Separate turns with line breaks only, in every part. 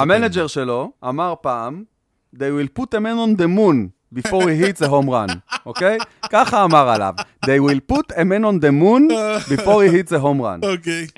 המנג'ר שלו אמר פעם, They will put a man on the moon before he hits a home run, אוקיי? ככה אמר עליו, They will put a man on the moon before he hits a home run.
אוקיי.
Drives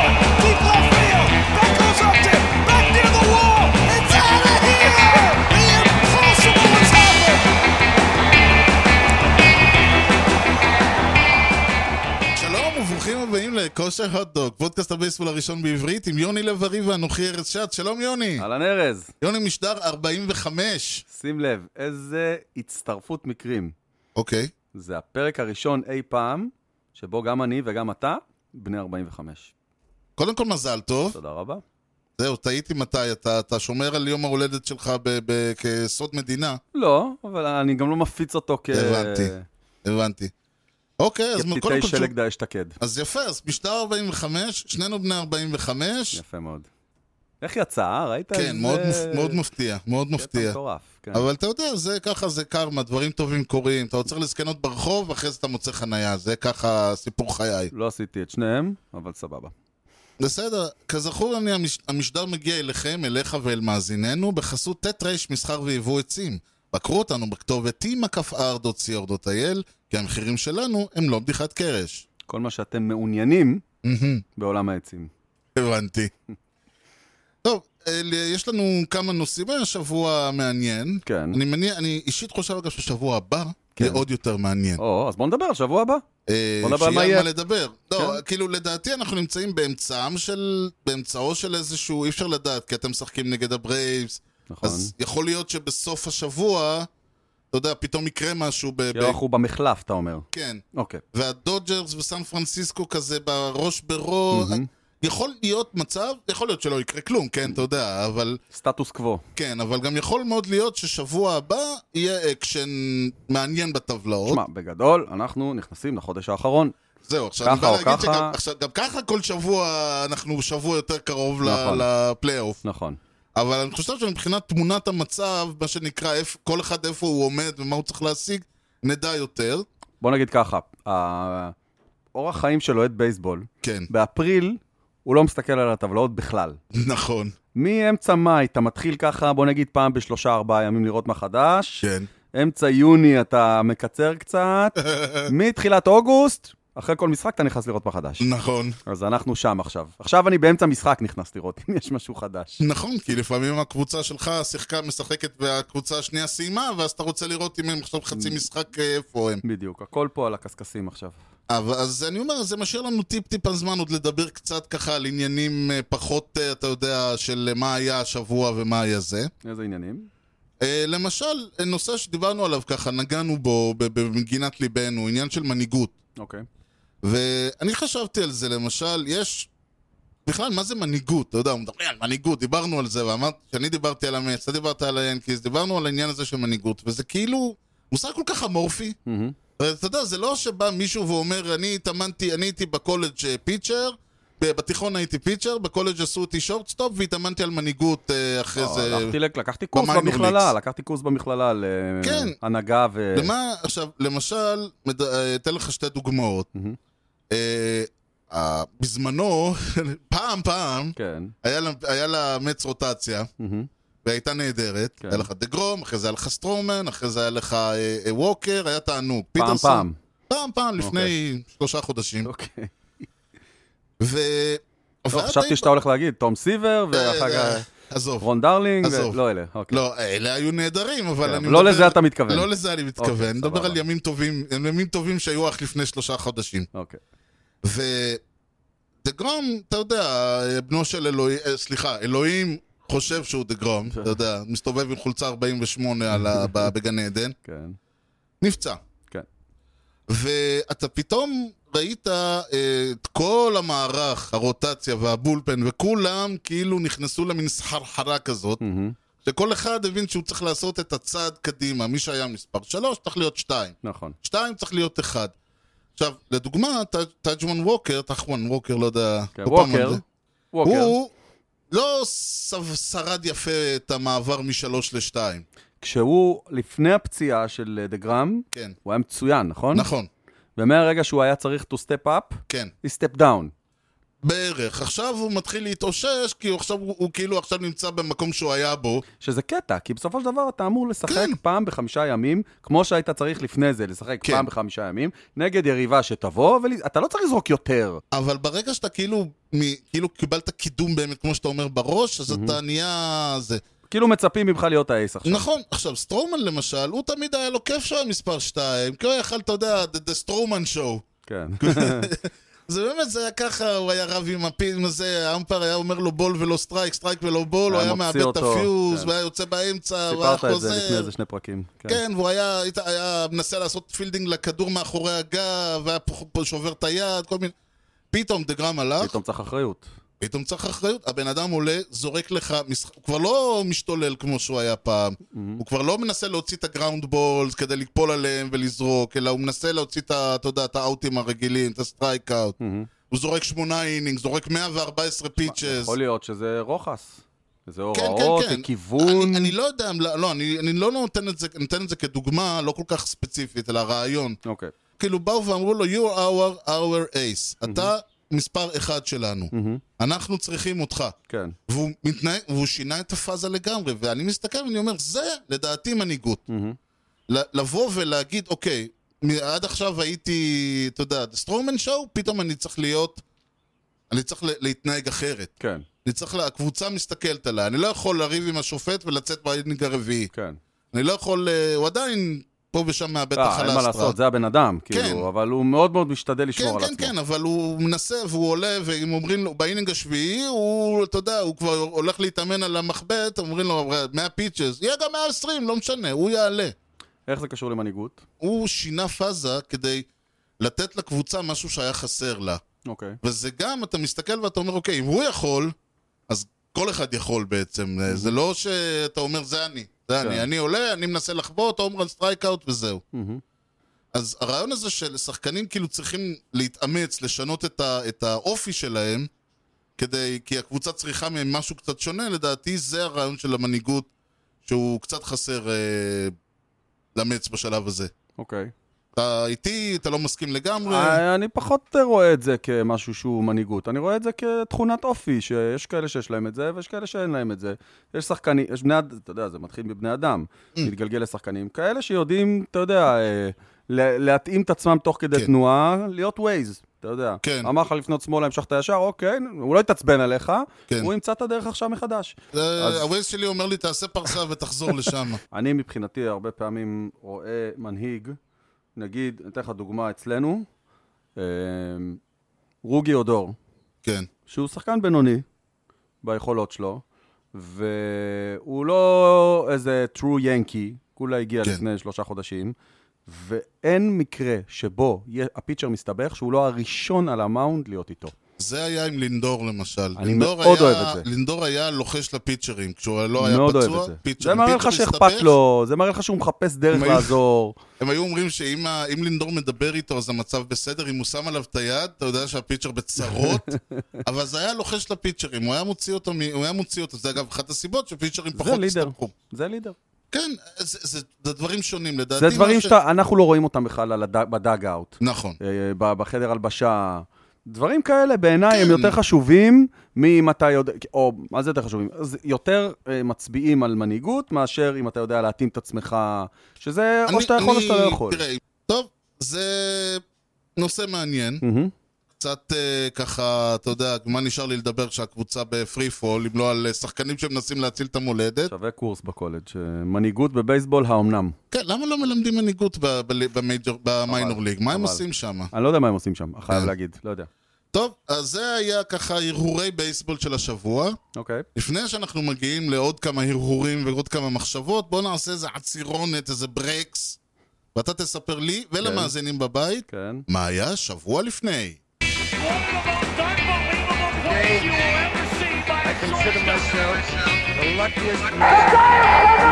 one, deep left field. That goes up to back near the wall. It's out of here. The impossible has happened.
שלום וברוכים הבאים לכושר הוטדוג, פודקאסט הבייסבול הראשון בעברית עם יוני לב-ארי ואנוכי ארז שץ. שלום יוני.
אהלן ארז,
יוני משדר 45.
שים לב, איזה הצטרפות מקרים.
אוקיי.
זה הפרק הראשון אי פעם, שבו גם אני וגם אתה בני 45.
קודם כל מזל טוב.
תודה רבה.
זהו, טעיתי מתי. אתה, אתה שומר על יום ההולדת שלך ב, ב, כסוד מדינה.
לא, אבל אני גם לא מפיץ אותו כ...
הבנתי. הבנתי. אוקיי, אז קודם
כפתיתי
כל...
שלג די אשתקד.
אז יפה, אז משדר 45, שנינו בני 45.
יפה מאוד. איך יצא, אה? ראית?
כן,
איזה-
מאוד, מופ... מאוד מפתיע, מאוד מפתיע.
קטע מטורף, כן.
אבל אתה יודע, זה ככה, זה קרמה, דברים טובים קורים. אתה עוצר לזקנות ברחוב, אחרי זה אתה מוצא חנייה. זה ככה סיפור חיי.
לא עשיתי את שניהם, אבל סבבה.
בסדר, כזכור, אני, המש... המשדר מגיע אליכם, אליך ואל מאזיננו, בחסות ט' ר' מסחר ויבוא עצים. בקרו אותנו בכתובת t.r.co.il, כי המחירים שלנו הם לא בדיחת קרש.
כל מה שאתם מעוניינים
מהמם.
בעולם העצים.
הבנתי. טוב, אל- יש לנו כמה נושאים היה שבוע מעניין.
כן.
אני מניע, אני אישית חושב אגב ששבוע הבא
כן.
יהיה עוד יותר מעניין.
או, אז בואו נדבר על שבוע הבא.
אה,
בוא נדבר על מה
שיהיה
יהיה. כן.
על מה לדבר. לא, כאילו לדעתי אנחנו נמצאים באמצעם של, באמצעו של איזשהו, אי אפשר לדעת, כי אתם משחקים נגד הברייבס.
נכון.
אז יכול להיות שבסוף השבוע, אתה יודע, פתאום יקרה משהו ב...
כאילו
ב-
אנחנו במחלף, אתה אומר.
כן.
אוקיי.
והדודג'רס וסן פרנסיסקו כזה בראש בראש. יכול להיות מצב, יכול להיות שלא יקרה כלום, כן, אתה יודע, אבל
סטטוס קוו.
כן, אבל גם יכול מאוד להיות ששבוע הבא יהיה אקשן מעניין בטבלאות.
תשמע, בגדול, אנחנו נכנסים לחודש האחרון.
זהו, עכשיו אני
ככה
בא
או
להגיד
ככה.
שגם עכשיו, גם ככה כל שבוע אנחנו שבוע יותר קרוב ל-
נכון.
לפלייאוף.
נכון.
אבל אני חושב שמבחינת תמונת המצב, מה שנקרא, איפ- כל אחד איפה הוא עומד ומה הוא צריך להשיג, נדע יותר.
בוא נגיד ככה, ה- אורח חיים של אוהד בייסבול,
כן,
באפריל הוא לא מסתכל על הטבלאות בכלל.
נכון,
מאמצע מאי אתה מתחיל ככה, בוא נגיד פעם בשלושה ארבעה ימים לראות מה חדש.
כן.
אמצע יוני אתה מקצר קצת, מתחילת אוגוסט, אחרי כל משחק אתה נכנס לראות מה חדש.
נכון.
אז אנחנו שם עכשיו. עכשיו אני באמצע משחק נכנס לראות אם יש משהו חדש.
נכון, כי לפעמים הקבוצה שלך שיחקה, משחקת, והקבוצה השנייה סיימה, ואז אתה רוצה לראות אם הם עכשיו חצי משחק אה, איפה הם.
בדיוק, הכל פה על הקשקשים עכשיו.
אבל, אז אני אומר, זה משאיר לנו טיפ-טיפ על זמן עוד לדבר קצת ככה על עניינים אה, פחות, אה, אתה יודע, של אה, מה היה השבוע ומה היה זה.
איזה עניינים?
אה, למשל, אה, נושא שדיברנו עליו ככה, נגענו בו ב- במגינת ליבנו, עניין של מנהיגות.
אוקיי.
ואני חשבתי על זה, למשל, יש... בכלל, מה זה מנהיגות? אתה יודע, מדברים על מנהיגות, דיברנו על זה, ואמרת, כשאני דיברתי על המץ, אתה דיברת על היאנקיז, דיברנו על העניין הזה של מנהיגות, וזה כאילו מושג כל כך אמורפי.
מהמם.
אתה יודע, זה לא שבא מישהו ואומר, אני התאמנתי, אני הייתי בקולג' אה, פיצ'ר, ב- בתיכון הייתי פיצ'ר, בקולג' עשו אותי שורטסטופ, והתאמנתי על מנהיגות אה, אחרי
לא,
זה.
הלכתי לק- לקחתי קורס
במיינור
במכללה,
ליגס.
לקחתי קורס במכללה על אה,
כן.
הנהגה ו...
למה, עכשיו, למשל, מד- אה, אתן לך שתי דוגמאות.
מהמם.
אה, אה, בזמנו, פעם פעם,
כן.
היה לה- היה לה מצ רוטציה,
מהמם.
והייתה נהדרת.
כן.
היה לך דה גרום, אחרי זה היה לך סטרומן, אחרי זה היה לך אה, אה, ווקר, היה תענוג.
פעם
פיטרסון.
פעם.
פעם פעם, לפני שלושה חודשים.
אוקיי.
ו...
לא,
אבל
חשבתי
די-
שאתה הולך להגיד, תום סיבר, ואחר
אה,
כך
עזוב.
רון דרלינג,
עזוב.
ולא אלה. אוקיי.
לא, אלה היו נהדרים, אבל
כן,
אני
לא לזה אתה מתכוון.
לא לזה אני מתכוון.
אוקיי,
אני מדבר
סבבה.
על ימים טובים, ימים טובים שהיו אך לפני שלושה חודשים.
אוקיי.
ו... דה גרום, אתה יודע, בנו של אלוהים, אה, סליחה, אלוהים חושב שהוא דה גרום,
כן.
אתה יודע, מסתובב עם חולצה 48 על ה... ב- בגן עדן.
כן.
נפצע.
כן.
ואתה פתאום ראית אה, את כל המערך, הרוטציה והבולפן, וכולם כאילו נכנסו למין סחרחרה כזאת,
מהמם.
שכל אחד הבין שהוא צריך לעשות את הצעד קדימה. מי שהיה מספר שלוש צריך להיות שתיים.
נכון.
שתיים צריך להיות אחד. עכשיו, לדוגמה, ט- טאג'מן ווקר, טחמן ווקר, לא יודע...
כן,
כל פעם
ווקר.
אני-
ווקר.
הוא לא ס- שרד יפה את המעבר משלוש לשתיים.
כשהוא, לפני הפציעה של אה, דה גראם,
כן,
הוא היה מצוין, נכון?
נכון,
ומהרגע שהוא היה צריך to step up,
כן.
he step down.
בערך. עכשיו הוא מתחיל להתאושש, כי הוא עכשיו, הוא, הוא כאילו עכשיו נמצא במקום שהוא היה בו.
שזה קטע, כי בסופו של דבר אתה אמור לשחק
כן.
כן. פעם בחמישה ימים, כמו שהיית צריך לפני זה, לשחק
כן.
כן. פעם בחמישה ימים, נגד יריבה שתבוא, ואתה לא צריך לזרוק יותר.
אבל ברגע שאתה כאילו, מ, כאילו קיבלת קידום באמת, כמו שאתה אומר, בראש, אז אתה נהיה... זה.
כאילו מצפים ממך להיות האייס עכשיו.
נכון, עכשיו, סטרומן למשל, הוא תמיד היה לו כיף שהיה מספר 2, כי הוא יכל, אתה יודע, the, the Strowman show.
כן.
זה באמת, זה היה ככה, הוא היה רב עם הפין הזה, האמפר היה אומר לו בול ולא סטרייק, סטרייק ולא בול, הוא
היה
היה
מוציא
מאבד את
אותו,
הפיוז,
כן.
הוא היה יוצא באמצע, הוא היה
סיפרת את זה לפני
חוזר.
איזה שני פרקים. כן.
כן, והוא היה, היית- היה מנסה לעשות פילדינג לכדור מאחורי הגב, והיה פה- פה שובר את היד, כל מיני... פתאום דגרם הלך,
פתאום צריך אחריות.
פתאום צריך אחריות. הבן אדם עולה, זורק לך, משח- הוא כבר לא משתולל כמו שהוא היה פעם.
Mm-hmm.
הוא כבר לא מנסה להוציא את הגראונד בולס כדי לקפול עליהם ולזרוק, אלא הוא מנסה להוציא את ה- אתה יודע, את האאוטים הרגילים, את הסטרייק אאוט.
מהמם.
הוא זורק שמונה אינינג, זורק 114 פיצ'ס.
יכול להיות שזה רוחס. זה
כן, כן,
הוראות,
כן.
זה כיוון.
אני, אני לא יודע, אם- לא, אני, אני לא נותן את זה, נותן את זה כדוגמה, לא כל כך ספציפית, אלא רעיון.
אוקיי.
כאילו באו ואמרו לו, you're our, our ace. אתה
Mm-hmm.
מספר אחד שלנו.
מהמם.
אנחנו צריכים אותך.
כן.
והוא מתנהג, והוא שינה את הפאזה לגמרי, ואני מסתכל ואני אומר, זה לדעתי מנהיגות.
מהמם.
ל- לבוא ולהגיד, אוקיי, מ- עד עכשיו הייתי, אתה יודע, סטרומן שואו, פתאום אני צריך להיות, אני צריך ל- להתנהג אחרת.
כן.
אני צריך, לה- הקבוצה מסתכלת עליי, אני לא יכול לריב עם השופט ולצאת באינינג הרביעי.
כן.
אני לא יכול, אה, הוא עדיין פה ושם מאבד את
אה, אין
החלסטרה.
מה לעשות, זה הבן אדם, כאילו, אבל הוא מאוד מאוד משתדל לשמור
כן,
על
כן,
עצמו.
כן, אבל הוא מנסה והוא עולה, ואם אומרים לו, באינינג השביעי, הוא, אתה יודע, הוא כבר הולך להתאמן על המחבט, אומרים לו, 100 פיצ'ס, יהיה גם 120, לא משנה, הוא יעלה.
איך זה קשור למנהיגות?
הוא שינה פאזה כדי לתת לקבוצה משהו שהיה חסר לה.
אוקיי.
וזה גם, אתה מסתכל ואתה אומר, אוקיי, אם הוא יכול, אז כל אחד יכול בעצם. זה לא שאתה אומר, זה אני, זה אני.
כן.
אני עולה, אני מנסה לחבוט, הום רן סטרייקאוט וזהו.
מהמם.
אז הרעיון הזה של שחקנים כאילו צריכים להתאמץ, לשנות את, ה, את האופי שלהם, כדי, כי הקבוצה צריכה מהם משהו קצת שונה, לדעתי זה הרעיון של המנהיגות, שהוא קצת חסר אה, לאמץ בשלב הזה.
אוקיי.
אתה איתי, אתה לא מסכים לגמרי.
אה, אני פחות אה, רואה את זה כמשהו שהוא מנהיגות, אני רואה את זה כתכונת אופי, שיש כאלה שיש להם את זה ויש כאלה שאין להם את זה. יש שחקנים, יש בני אדם, אתה יודע, זה מתחיל מבני אדם,
Mm.
מתגלגל לשחקנים, כאלה שיודעים, אתה יודע, אה, לה- להתאים את עצמם תוך כדי
כן.
תנועה, להיות ווייז. אתה יודע,
כן.
אמר לך לפנות שמאלה, המשכת ישר, אוקיי, הוא לא יתעצבן עליך,
כן.
הוא ימצא את הדרך עכשיו מחדש.
אה,
אז-
הווייז שלי אומר לי, תעשה פרסה ותחזור לשם.
אני מבחינתי הרבה פעמים רואה מנהיג, נגיד, אני אתן לך דוגמה אצלנו, אה, רוגי אודור,
כן,
שהוא שחקן בינוני ביכולות שלו, והוא לא איזה true ינקי, כולה הגיע
כן.
כן. לפני שלושה חודשים, ואין מקרה שבו יה- הפיצ'ר מסתבך שהוא לא הראשון על המאונד להיות איתו.
זה היה עם לינדור למשל.
אני
לינדור
מאוד
היה-
אוהב את זה.
לינדור היה לוחש לפיצ'רים, כשהוא לא היה
מאוד אוהב
פצוע,
את זה.
פיצ'ר-
זה מראה לך
פיצ'ר
שאכפת
הסתבך,
לו, זה מראה לך שהוא מחפש דרך
הם היו-
לעזור.
הם היו אומרים שאם ה- אם לינדור מדבר איתו אז המצב בסדר, אם הוא שם עליו את היד, אתה יודע שהפיצ'ר בצרות, אבל זה היה לוחש לפיצ'רים, הוא היה מוציא אותו, מ- הוא היה מוציא אותו, זה אגב אחת הסיבות שפיצ'רים
זה
פחות
לידר,
הסתבכו.
זה לידר.
כן, זה- זה זה דברים שונים לדעתי.
זה
מה
דברים
ש-
שאנחנו לא רואים אותם בכלל על הד- בדאג-אאוט,
נכון.
אה, ב- בחדר הלבשה. דברים כאלה בעיניי הם
כן.
יותר חשובים מאם אתה יודע, או מה זה יותר חשובים? אז יותר אה, מצביעים על מנהיגות מאשר אם אתה יודע להתאים את עצמך, שזה או
אני-
שאתה יכול או
אני-
שאתה לא יכול.
תראה, טוב, זה נושא מעניין.
מהמם.
קצת אה, ככה, אתה יודע, מה נשאר לי לדבר כשהקבוצה בפרי פול, אם לא על אה, שחקנים שמנסים להציל את המולדת?
שווה קורס בקולג', אה, מנהיגות בבייסבול האומנם.
כן, למה לא מלמדים מנהיגות ב- ב- במייג'ור- במיינור
חבל,
ליג? מה הם
חבל.
עושים שם?
אני לא יודע מה הם עושים שם, חייב
כן.
להגיד, לא יודע.
טוב, אז זה היה ככה הרהורי בייסבול של השבוע.
אוקיי,
לפני שאנחנו מגיעים לעוד כמה הרהורים ועוד כמה מחשבות, בואו נעשה איזה עצירונת, איזה ברקס, ואתה תספר לי ולמאזינים בבית
כן.
מה היה שבוע לפני.
One of the most unbelievable plays you will ever see by a
consider
shortstop.
myself the luckiest man.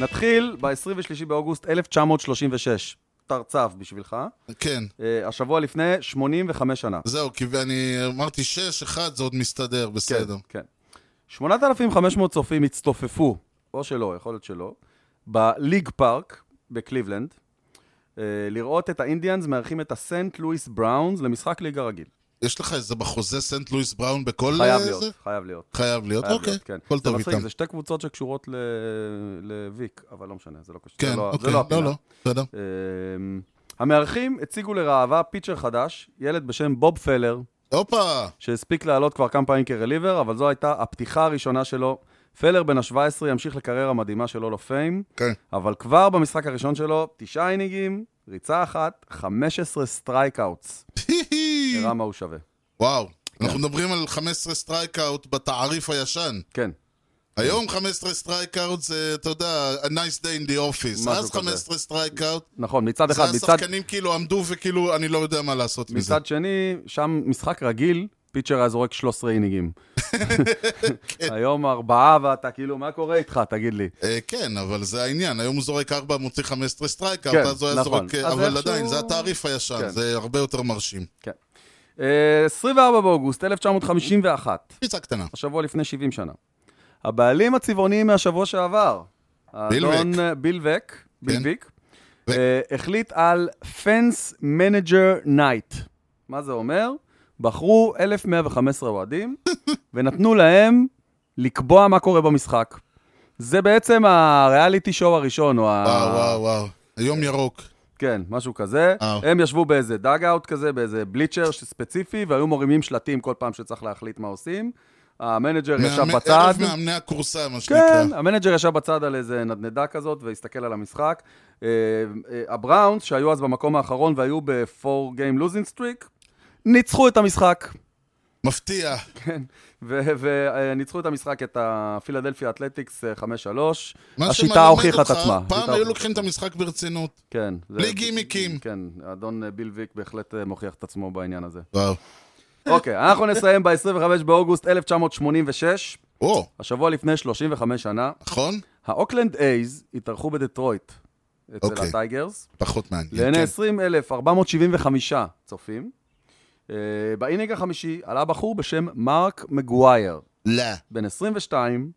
נתחיל ב-23 באוגוסט 1936. תרצף בשבילך.
כן,
אה, השבוע לפני 85 שנה.
זהו, כי אני אמרתי שש, אחד, זה עוד מסתדר, בסדר.
כן, כן. 8,500 צופים הצטופפו, או שלא, יכול להיות שלא, בליג פארק בקליבלנד, אה, לראות את האינדיאנס מארחים את הסנט לואיס בראונס למשחק ליגה רגיל.
יש לך איזה בחוזה סנט לואיס בראון בכל...
כן. חייב
אה, זה?
להיות, חייב להיות.
חייב להיות,
חייב
אוקיי.
להיות, כן.
כל
זה
טוב
מצחיק,
איתם.
זה שתי קבוצות שקשורות ל- לוויק, אבל לא משנה, זה לא קשור.
כן,
זה לא- זה
אוקיי.
לא
לא,
הפינה.
לא, בסדר.
אמ, המארחים הציגו לראווה פיצ'ר חדש, ילד בשם בוב פלר,
הופה!
שהספיק לעלות כבר כמה פעמים כרליבר, אבל זו הייתה הפתיחה הראשונה שלו. פלר בן ה-17 ימשיך לקריירה המדהימה שלו לפיים,
כן.
אבל כבר במשחק הראשון שלו, תשעה אינינגים, ריצה אחת, 15 סטרייק אאוטס. נראה מה הוא שווה.
וואו. אנחנו מדברים על 15 סטרייקאוט בתעריף הישן.
כן,
היום 15 סטרייקאוט זה, אתה יודע, a nice day in the office.
משהו
אז
כזה.
15 סטרייקאוט,
נכון, מצד
זה
אחד, מצד...
השחקנים כאילו עמדו וכאילו, אני לא יודע מה לעשות עם זה.
מצד שני, שם משחק רגיל, פיצ'ר היה זורק 13 אינינגים. היום ארבעה ואתה כאילו, מה קורה איתך, תגיד לי.
אה, כן, אבל זה העניין, היום הוא זורק 4, מוציא 15 סטרייקאוט,
כן,
אז הוא היה
נכון.
זורק, אה,
אז
אבל
איכשהו-
עדיין, זה התעריף הישן,
כן.
זה הרבה יותר מרשים.
כן. אה, 24 באוגוסט 1951,
קפיצה קטנה.
השבוע לפני 70 שנה. הבעלים הצבעוניים מהשבוע שעבר, האדון בילבק, בילביק,
כן. ו-
אה, החליט על Fence Manager Night. מה זה אומר? בחרו 1,115 אוהדים ונתנו להם לקבוע מה קורה במשחק. זה בעצם הריאליטי שואו הראשון, או ה...
וואו, וואו, וואו. היום ירוק.
כן, משהו כזה.
אה.
הם ישבו באיזה דאג-אאוט כזה, באיזה בליצ'ר ספציפי, והיו מרימים שלטים כל פעם שצריך להחליט מה עושים. המנג'ר ישב
מאמני-
בצד.
אלף מאמני הכורסה, מה שנקרא.
כן, המנג'ר ישב בצד על איזה נדנדה כזאת והסתכל על המשחק. אה, אה, הבראונס, שהיו אז במקום האחרון והיו ב-4 Game Losing Streak, ניצחו את המשחק.
מפתיע.
וניצחו את המשחק, את הפילדלפי אתלטיקס אה, 5-3.
מה
השיטה
שמלמד
הוכיחה את
אותך,
עצמה. השיטה
פעם היו
הוכיחה
לוקחים
את
את
עצמה.
המשחק ברצינות.
כן. זה-
בלי גימיקים.
כן, האדון אה, ביל ויק בהחלט אה, מוכיח את עצמו בעניין הזה.
וואו.
אוקיי, אנחנו נסיים ב-25 באוגוסט 1986,
או,
השבוע לפני 35 שנה.
נכון?
האוקלנד אייז התארחו בדטרויט, אצל
אוקיי.
הטייגרס,
פחות מעניין.
לעיני
כן.
20,475 צופים. אה, באינינג החמישי עלה בחור בשם מרק מגווייר,
לא.
בן 22,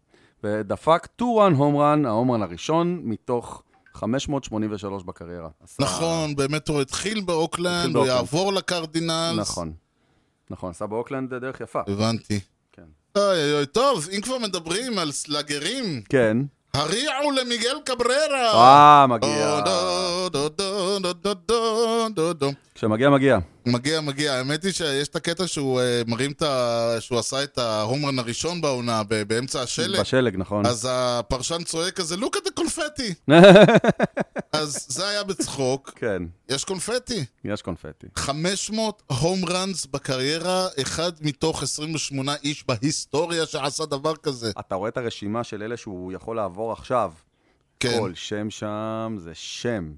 ודפק 2-1 הום רן, ההומרן הראשון מתוך 583 בקריירה. עשה-
נכון, באמת הוא התחיל
אה. התחיל
באוקלנד, הוא
באוקלנד.
יעבור לקרדינלס.
נכון. נכון, עשה באוקלנד דרך יפה.
הבנתי.
כן.
אוי אוי אוי, טוב, אם כבר מדברים על סלאגרים,
כן.
הריעו למיגל קבררה!
אה,
דו,
מגיע.
דו, דו, דו, דו, דו, דו, דו, דו.
כשמגיע, מגיע.
מגיע, מגיע. האמת היא שיש את הקטע שהוא אה, מרים את ה... שהוא עשה את ההומרן הראשון בעונה, ב- באמצע השלג.
בשלג, נכון.
אז הפרשן צועק כזה, look at the קונפטי. אז זה היה בצחוק,
כן,
יש קונפטי.
יש קונפטי.
500 הום ראנס בקריירה, אחד מתוך 28 איש בהיסטוריה שעשה דבר כזה.
אתה רואה את הרשימה של אלה שהוא יכול לעבור עכשיו.
כן.
כל שם שם זה שם.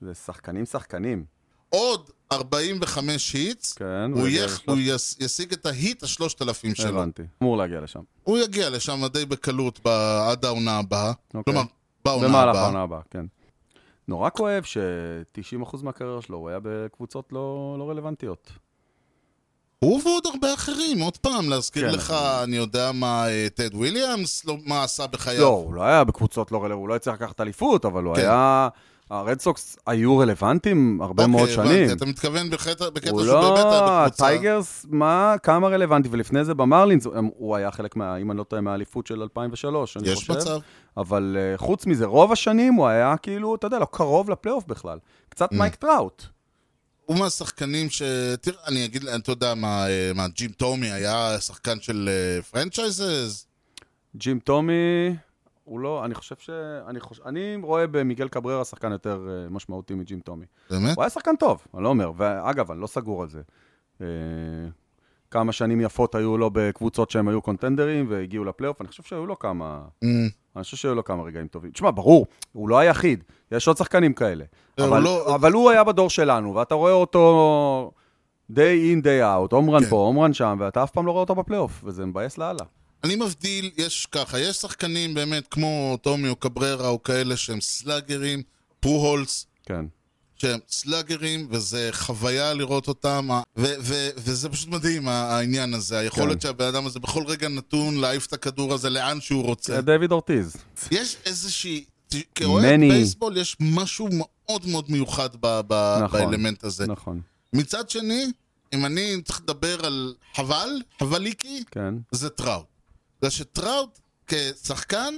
זה שחקנים שחקנים.
עוד 45 היטס,
כן,
הוא,
הוא יגיע
יח,
לשלוש-
הוא יס, ישיג את ההיט השלושת אלפים שלו.
הבנתי. אמור להגיע לשם.
הוא יגיע לשם די בקלות ב, עד העונה הבאה.
אוקיי.
כלומר, בעונה
במהלך
הבאה.
העונה הבאה, כן. נורא כואב ש-90% מהקריירה שלו הוא היה בקבוצות לא, לא רלוונטיות.
הוא ועוד הרבה אחרים, עוד פעם, להזכיר
כן,
לך,
נכון.
אני יודע מה, אה, טד וויליאמס, לא, מה עשה בחייו.
לא, הוא לא היה בקבוצות לא רלוונטיות, הוא לא הצליח לקחת אליפות, אבל הוא
כן.
היה... הרד סוקס היו רלוונטיים הרבה מאוד
אוקיי,
שנים.
הבנתי, אתה מתכוון בקטע, בקטע
הוא
שהוא באמת
לא,
היה בקבוצה.
הטייגרס, מה, כמה רלוונטי, ולפני זה במרלינס, הם- הוא היה חלק, מה, אם אני לא טועה, מהאליפות של 2003, אני
יש
חושב.
מצב.
אבל אה, חוץ מזה, רוב השנים הוא היה כאילו, אתה יודע, לא קרוב לפלייאוף בכלל.
Mm.
קצת מייק טראוט.
הוא מהשחקנים ש... תראה, אני אגיד, אתה יודע מה, אה, מה, ג'ים טומי היה שחקן של אה, פרנצ'ייזז?
ג'ים טומי, הוא לא, אני חושב ש... אני, חוש... אני רואה במיגל קבררה שחקן יותר אה, משמעותי מג'ים טומי.
באמת?
הוא היה שחקן טוב, אני לא אומר. ואגב, אני לא סגור על זה. אה, כמה שנים יפות היו לו בקבוצות שהם היו קונטנדרים והגיעו לפלייאוף, אני חושב שהיו לו כמה...
אמ,
אני חושב שהיו לו כמה רגעים טובים. תשמע, ברור, הוא לא היחיד, יש עוד שחקנים כאלה.
אה, הוא
אבל,
לא-
אבל הוא היה בדור שלנו, ואתה רואה אותו day in, day out, הומרן
כן.
פה, הומרן שם, ואתה אף פעם לא רואה אותו בפלייאוף, וזה מבאס לאללה.
אני מבדיל, יש ככה, יש שחקנים באמת כמו טומי או קבררה או כאלה שהם סלאגרים, פרוהולס,
כן.
שהם סלאגרים, וזה חוויה לראות אותם, ה- ו- ו- וזה פשוט מדהים, ה- העניין הזה, היכולת
כן.
שהבן אדם הזה בכל רגע נתון להעיף את הכדור הזה לאן שהוא רוצה.
זה דויד כן. אורטיז.
יש איזושהי ת- כאוהד
Many.
בייסבול יש משהו מאוד מאוד מיוחד ב- ב-
נכון.
באלמנט הזה.
נכון,
מצד שני, אם אני צריך לדבר על חבל, חבליקי,
כן.
זה טראוט. בגלל שטראוט כשחקן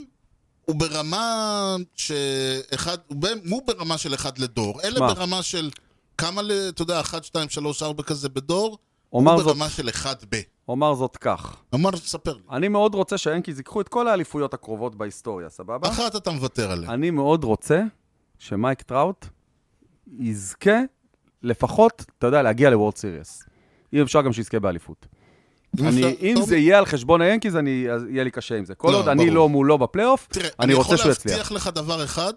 הוא ברמה שאחד, הוא ב- הוא ברמה של אחד לדור. אלה
מה?
ברמה של כמה, ל- אתה יודע, אחת, שתיים, שלוש, ארבע כזה בדור,
אומר
הוא
זאת,
ברמה של אחד ב.
אומר זאת כך.
אמר, ספר לי.
אני מאוד רוצה שהיאנקיז ייקחו את כל האליפויות הקרובות בהיסטוריה, סבבה?
אחת אתה מוותר עליה.
אני מאוד רוצה שמייק טראוט יזכה לפחות, אתה יודע, להגיע לוורד סיריוס. אי אפשר גם שיזכה באליפות.
אם לא
אני,
אפשר-
אם
טוב,
זה יהיה על חשבון היאנקיז, אני, אז יהיה לי קשה עם זה. כל
לא,
עוד אני
ברור.
לא מולו בפלייאוף,
תראה,
אני רוצה שהוא
אני יכול
יצליח.
להבטיח לך דבר אחד,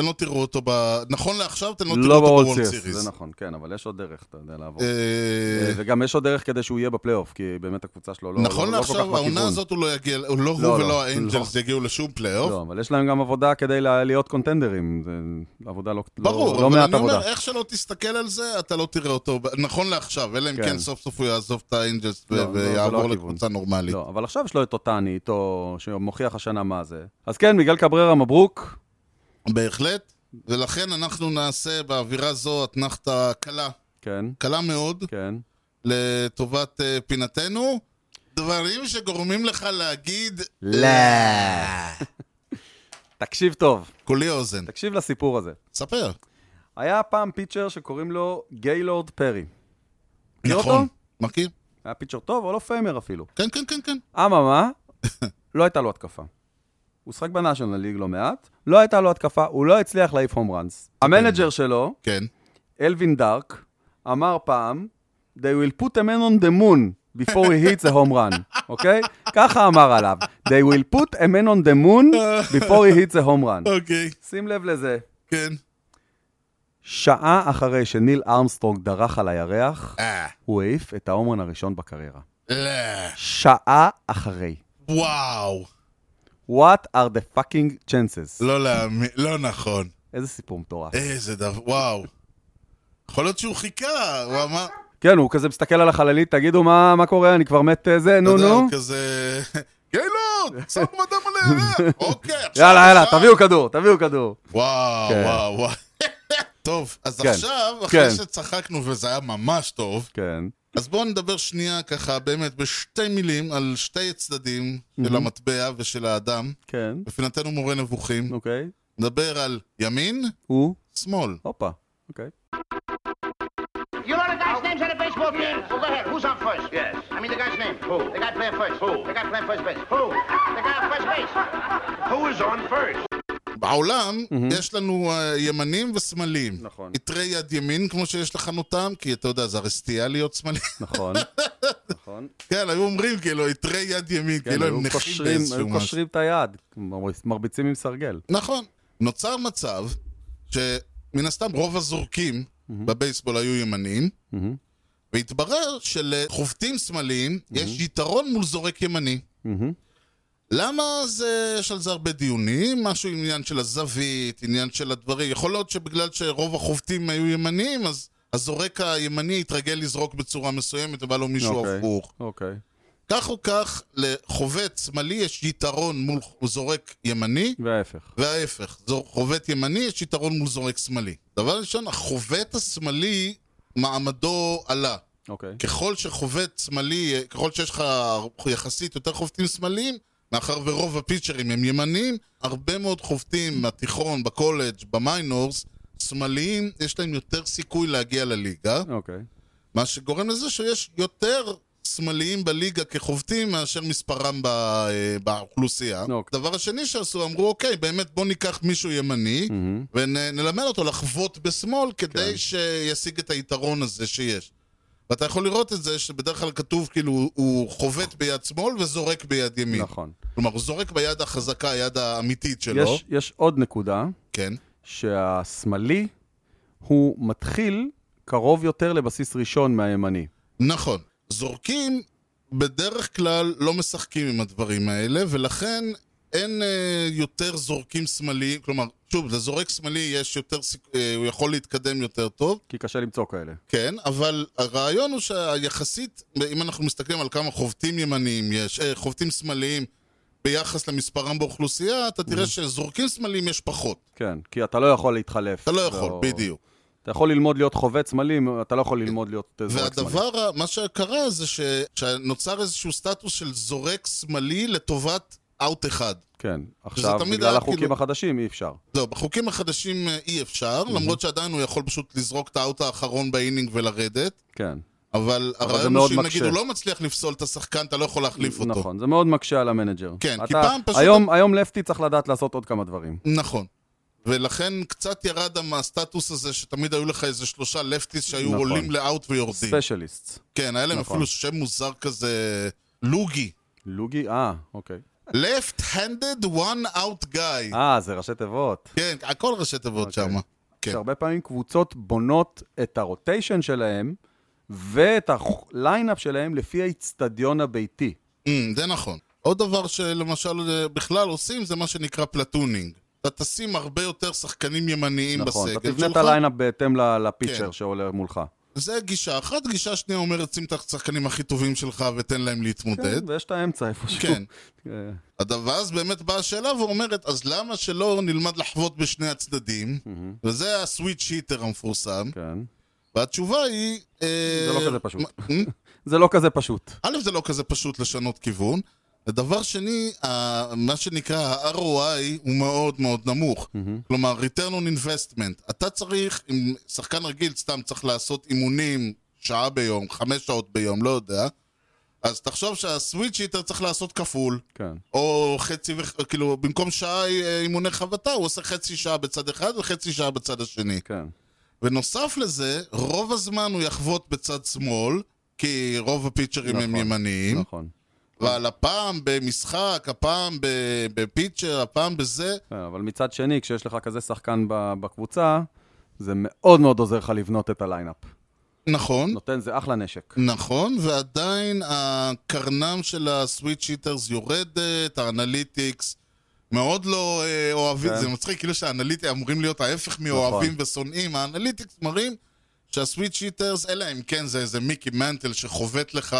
אתם לא תראו אותו ב... נכון לעכשיו, אתם לא תראו
לא
אותו
בוולד
בוולד
סיריס,
סיריס.
זה נכון, כן, אבל יש עוד דרך, אתה יודע, לעבור.
אה,
וגם יש עוד דרך כדי שהוא יהיה בפלייאוף, כי באמת הקבוצה שלו לא,
נכון
לא, לא כל כך
לעכשיו, העונה
בכיוון.
הזאת הוא לא יגיע, הוא לא
לא,
הוא
לא,
ולא האנג'לס
לא.
יגיעו לשום פלייאוף.
לא, אבל יש להם גם עבודה כדי לה- להיות קונטנדרים. זה עבודה לא, לא-
ברור,
לא
אבל
מעט
אני
עבודה.
אומר, איך שלא תסתכל על זה, אתה לא תראה אותו, ב- נכון לעכשיו, אלא אם
כן.
כן סוף סוף הוא יעזוב את האנג'לס ו-
לא, לא, זה
ויעבור
לא הכיוון.
לקבוצה נורמלית.
לא, אבל עכשיו יש לו את טוטני איתו, שמוכיח השנה מה זה. אז כן, מיגל קבררה מברוק.
בהחלט, ולכן אנחנו נעשה באווירה זו אתנחתה קלה,
כן,
קלה מאוד,
כן.
לטובת אה, פינתנו. דברים שגורמים לך להגיד...
לא.
אה.
תקשיב טוב,
כולי אוזן.
תקשיב לסיפור הזה.
ספר.
היה פעם פיצ'ר שקוראים לו גיילורד פרי. מכיר אותו?
נכון. מכיר?
היה פיצ'ר טוב, או לא פיימר אפילו.
כן, כן, כן, כן.
אממה, לא הייתה לו התקפה. הוא שחק בנאשונל ליג לא מעט, לא הייתה לו התקפה, הוא לא הצליח להעיף הום ראנס. המנג'ר שלו,
כן.
אלווין דארק, אמר פעם, They will put a man on the moon before he hits a home run, אוקיי? ככה אמר עליו, They will put a man on the moon before he hits a home run.
אוקיי,
שים לב לזה.
כן.
שעה אחרי שניל ארמסטרונג דרך על הירח,
אה.
הוא העיף את ההומרן הראשון בקריירה.
לא.
שעה אחרי.
וואו.
What are the fucking chances?
לא אה. להאמין, לא נכון.
איזה סיפור מטורף.
איזה דבר, וואו. יכול להיות שהוא חיכה, הוא אמר,
כן, הוא כזה מסתכל על החללית, תגידו, מה מה קורה, אני כבר מת אה, זה,
אתה
נו,
יודע,
נו.
הוא כזה... גיילורד, שמו אדם על הירח, אוקיי, עכשיו...
יאללה, יאללה,
עכשיו."
תביאו כדור, תביאו כדור.
וואו,
כן.
וואו, וואו. טוב, אז
כן,
עכשיו, אחרי
כן.
שצחקנו וזה היה ממש טוב,
כן,
אז בואו נדבר שנייה ככה, באמת, בשתי מילים, על שתי הצדדים של המטבע ושל האדם.
כן,
בפינתנו מורה נבוכים,
אוקיי.
נדבר על ימין,
הוא,
שמאל.
הופה, אוקיי.
You know the guy's names on the baseball team? Well, go ahead. Who's on first? Yes. I mean the guy's name. Who? The guy playing first. Who? The guy playing first base. Who? The guy on first base.
Who is on first?
בעולם יש לנו אה, ימנים ושמאלים.
נכון.
יתרי יד ימין, כמו שיש לחנותם, כי אתה יודע, זה הרי סטייה להיות שמאלי.
נכון, נכון.
כן, היו אומרים כאילו, יתרי יד ימין,
כן,
כאילו
היו
הם נכים
קושרים-
באיזשהו
היו
משהו.
קושרים את היד, מר- מרביצים עם סרגל.
נכון. נוצר מצב שמן הסתם רוב הזורקים בבייסבול היו ימנים, והתברר שלחובטים שמאליים יש יתרון מול זורק ימני.
מהמם.
למה זה, יש על זה הרבה דיונים, משהו עם עניין של הזווית, עניין של הדברים. יכול להיות שבגלל שרוב החובטים היו ימניים, אז הזורק הימני התרגל לזרוק בצורה מסוימת, ובא לו מישהו
אוקיי.
הפוך.
אוקיי,
כך או כך, לחובט שמאלי יש יתרון מול זורק ימני,
וההפך.
וההפך, זור- חובט ימני יש יתרון מול זורק שמאלי. דבר ראשון, החובט השמאלי, מעמדו עלה.
אוקיי,
ככל שחובט שמאלי, ככל שיש לך יחסית יותר חובטים שמאליים, מאחר ורוב הפיצ'רים הם ימניים, הרבה מאוד חובטים בתיכון, בקולג', במיינורס, שמאליים, יש להם יותר סיכוי להגיע לליגה,
אוקיי.
מה שגורם לזה שיש יותר שמאליים בליגה כחובטים מאשר מספרם ב, אה, באוכלוסייה.
אוקיי.
דבר השני שעשו, אמרו, אוקיי, באמת בוא ניקח מישהו ימני,
מהמם.
ונלמד אותו לחבוט בשמאל כדי
Mm. כן.
כן. שישיג את היתרון הזה שיש. ואתה יכול לראות את זה שבדרך כלל כתוב כאילו הוא- הוא חובט ביד שמאל וזורק ביד ימין.
נכון.
כלומר, הוא זורק ביד החזקה, היד האמיתית שלו.
יש- יש עוד נקודה,
כן.
שהשמאלי הוא מתחיל קרוב יותר לבסיס ראשון מהימני.
נכון. זורקים בדרך כלל לא משחקים עם הדברים האלה, ולכן אין אה, יותר זורקים שמאליים. כלומר, שוב, לזורק שמאלי יש יותר סיכ... אה, הוא יכול להתקדם יותר טוב.
כי קשה למצוא כאלה.
כן, אבל הרעיון הוא שהיחסית, אם אנחנו מסתכלים על כמה חובטים ימניים יש, אה, חובטים שמאליים ביחס למספרם באוכלוסייה, אתה תראה שזורקים סמלים יש פחות.
כן, כי אתה לא יכול להתחלף.
אתה לא יכול, בדיוק.
אתה יכול ללמוד להיות חובץ סמלים, אתה לא יכול ללמוד להיות אה, זורק סמלים.
והדבר, ה- מה שקרה זה ש... שנוצר איזשהו סטטוס של זורק שמאלי לטובת אאוט אחד.
כן, עכשיו,
תמיד
בגלל
היה
החוקים
כאילו-
החדשים אי אפשר.
זהו, בחוקים החדשים אה, אי אפשר, למרות שעדיין הוא יכול פשוט לזרוק את האאוט האחרון באינינג ולרדת,
כן.
אבל הרעיון הוא
מאוד
שאם
מקשה.
נגיד הוא לא מצליח לפסול את השחקן, אתה לא יכול להחליף אותו.
נכון, זה מאוד מקשה על המנג'ר.
כן, כי
אתה-
פעם פשוט-
היום- היום לפטי צריך לדעת לעשות עוד כמה דברים.
נכון. ולכן קצת ירד הסטטוס הזה שתמיד היו לך איזה שלושה לפטיס שהיו
נכון.
עולים לאאוט ויורדים.
ספיישליסט.
כן, היה להם
נכון.
אפילו שם מוזר כזה, לוגי.
לוגי, אה, אוקיי.
Left-handed one out guy.
אה, זה ראשי תיבות.
כן, הכל ראשי תיבות
אוקיי.
שמה. כן.
שהרבה פעמים קבוצות בונות את הרוטיישן שלהם ואת הליינאפ שלהם לפי האיצטדיון הביתי.
אמ, זה נכון. עוד דבר שלמשל אה, בכלל עושים זה מה שנקרא פלטונינג. אתה תשים הרבה יותר שחקנים ימניים
נכון, אתה
בסגל
תבנה את
שלך.
הליינאפ בהתאם ל- לפיצ'ר
כן.
שעולה מולך.
זה גישה אחת, גישה שנייה אומרת שים את השחקנים הכי טובים שלך ותן להם להתמודד.
כן, ויש את האמצע איפשהו.
כן.
אה,
הדבר- ואז באמת באה השאלה ואומרת, אז למה שלא נלמד לחוות בשני הצדדים? וזה הסוויט שיטר המפורסם.
כן.
והתשובה היא... אה, זה
לא כזה פשוט. זה לא כזה פשוט.
א', זה לא כזה פשוט לשנות כיוון. דבר שני, ה- מה שנקרא ה-ROI הוא מאוד מאוד נמוך. כלומר, return on investment. אתה צריך, אם שחקן רגיל סתם צריך לעשות אימונים שעה ביום, חמש שעות ביום, לא יודע, אז תחשוב שהסוויץ' היטר צריך לעשות כפול.
כן.
או חצי, וח- כאילו, במקום שעה אה, אימוני חבטה, הוא עושה חצי שעה בצד אחד וחצי שעה בצד השני.
כן.
ונוסף לזה, רוב הזמן הוא יחבוט בצד שמאל, כי רוב הפיצ'רים הם
נכון,
ימניים,
נכון.
ועל הפעם במשחק, הפעם ב- בפיצ'ר, הפעם בזה,
כן, אבל מצד שני, כשיש לך כזה שחקן ב- בקבוצה, זה מאוד מאוד עוזר לך לבנות את הליינאפ.
נכון,
נותן זה אחלה נשק.
נכון, ועדיין הקרנם של הסוויט שיטרס יורדת, האנליטיקס מאוד לא אה, אוהבים,
כן.
זה מצחיק, כאילו שהאנליטיקס אמורים להיות ההפך מאוהבים ושונאים, האנליטיקס מראים שהסוויט שיטרס, אלא אם כן זה איזה מיקי מנטל שחובט לך,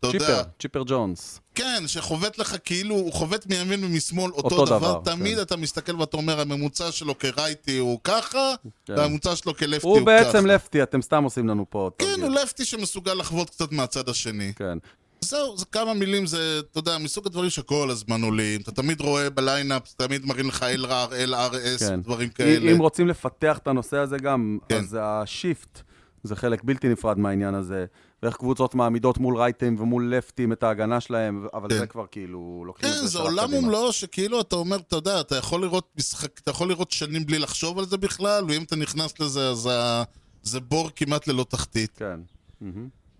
אתה
צ'יפר,
יודע,
צ'יפר ג'ונס.
כן, שחובט לך כאילו, הוא חובט מימין ומשמאל אותו,
אותו
דבר,
דבר,
תמיד
כן.
אתה מסתכל ואתה אומר, הממוצע שלו כרייטי הוא ככה,
כן.
והממוצע שלו כלפטי הוא,
הוא
ככה.
בעצם לפטי, אתם סתם עושים לנו פה עוד
כן,
תרגיל.
הוא לפטי שמסוגל לחבוט קצת מהצד השני.
כן,
זהו, זה כמה מילים, זה, אתה יודע, מסוג הדברים שכל הזמן עולים. אתה תמיד רואה בליינאפ, תמיד מראים לך LR, LRS,
כן.
דברים
אם-
כאלה.
אם רוצים לפתח את הנושא הזה גם,
כן.
אז השיפט זה חלק בלתי נפרד מהעניין הזה. ואיך קבוצות מעמידות מול רייטים ומול לפטים את ההגנה שלהם, אבל
כן.
זה כבר כאילו לוקחים את
כן,
זה
זה
שלב
עולם
קדימה.
ומלואו שכאילו אתה אומר, אתה יודע, אתה יכול לראות משחק, אתה יכול לראות שנים בלי לחשוב על זה בכלל, ואם אתה נכנס לזה, אז ה- זה בור כמעט ללא תחתית.
כן.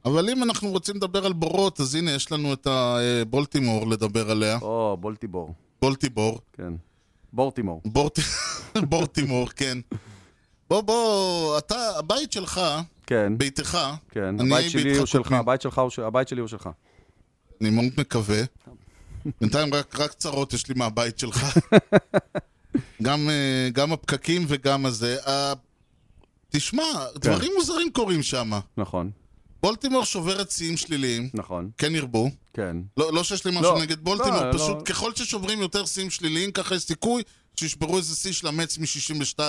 אבל אם אנחנו רוצים לדבר על בורות, אז הנה, יש לנו את הבולטימור לדבר עליה.
או, בולטיבור,
בולטיבור.
כן. בורטימור.
בורט... בורטימור, כן. בוא, בוא, אתה, הבית שלך,
כן,
ביתך,
כן.
אני
הבית שלי
ביתך
הוא שלך,
קודמים.
הבית שלך הוא ש- הבית שלי הוא שלך.
אני מאוד מקווה. בינתיים רק, רק צרות יש לי מהבית שלך. גם, אה, גם הפקקים וגם הזה. אה, תשמע, דברים מוזרים קורים שם.
נכון,
בולטימור שוברת שיאים שליליים,
נכון,
כן ירבו.
כן.
לא, לא שיש לי משהו
לא,
נגד בולטימור,
לא,
פשוט
לא.
ככל ששוברים יותר שיאים שליליים, ככה יש סיכוי שישברו איזה שיא של המץ מ-62.